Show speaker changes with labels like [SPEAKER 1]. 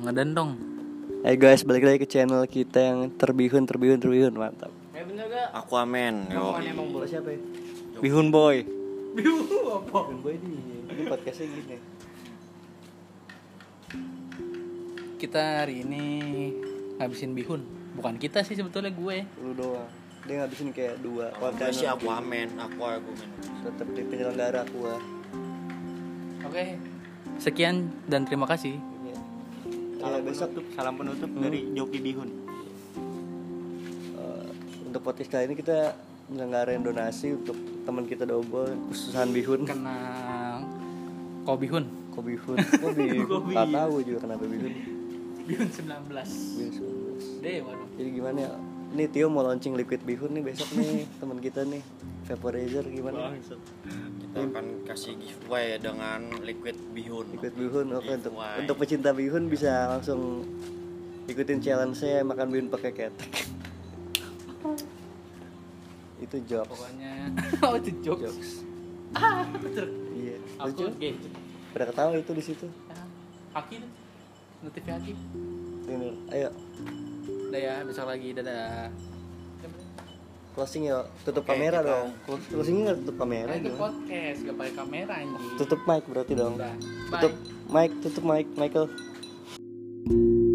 [SPEAKER 1] Ramadan dong.
[SPEAKER 2] Hey guys, balik lagi ke channel kita yang terbihun, terbihun, terbihun, mantap.
[SPEAKER 1] Ya bener gak?
[SPEAKER 3] Aquaman yo.
[SPEAKER 2] Emang bola siapa ya? Bihun Boy. Bihun Boy di, di podcastnya gini.
[SPEAKER 1] Kita hari ini ngabisin bihun. Bukan kita sih sebetulnya gue.
[SPEAKER 2] Lu doang. Dia ngabisin kayak dua
[SPEAKER 3] Enggak sih
[SPEAKER 2] konten
[SPEAKER 3] Aquaman, Aqua Aquaman.
[SPEAKER 2] tetap di penyelenggara gua.
[SPEAKER 1] Oke. Sekian dan terima kasih.
[SPEAKER 2] Iya. Kalau besok tuh
[SPEAKER 4] salam penutup dari Joki Bihun.
[SPEAKER 2] eh, untuk podcast kali ini kita menyelenggarain donasi untuk teman kita double khususan bihun.
[SPEAKER 1] Kena kau bihun.
[SPEAKER 2] Kok bihun? Kok bihun? Gak tahu juga kenapa bihun.
[SPEAKER 1] Bihun 19.
[SPEAKER 2] Bihun sebelas.
[SPEAKER 1] Dewa dong.
[SPEAKER 2] Jadi gimana ya? Nih Tio mau launching liquid bihun nih besok nih teman kita nih vaporizer gimana?
[SPEAKER 3] Kita akan kasih giveaway dengan liquid bihun.
[SPEAKER 2] Liquid bihun oke untuk
[SPEAKER 3] Giveaway.
[SPEAKER 2] untuk pecinta bihun bisa langsung ikutin challenge saya makan bihun pakai ketek. Itu jokes.
[SPEAKER 1] Pokoknya oh itu jokes.
[SPEAKER 2] Jokes.
[SPEAKER 1] Ah, betul.
[SPEAKER 2] Iya.
[SPEAKER 1] Aku
[SPEAKER 2] Lucu.
[SPEAKER 1] gadget.
[SPEAKER 2] Pada ketawa itu di situ.
[SPEAKER 1] Ah, Haki tuh. Notif Haki.
[SPEAKER 2] Ini, Ayo
[SPEAKER 1] Udah ya, besok lagi dadah.
[SPEAKER 2] closing ya. Tutup
[SPEAKER 3] Oke,
[SPEAKER 2] kamera
[SPEAKER 3] kita-
[SPEAKER 2] dong. Closingnya nggak tutup kamera
[SPEAKER 1] Nah, itu
[SPEAKER 2] gimana?
[SPEAKER 1] podcast, gak pakai kamera anjing.
[SPEAKER 2] Tutup mic berarti dong.
[SPEAKER 1] Udah. Bye.
[SPEAKER 2] Tutup mic, tutup mic, Michael.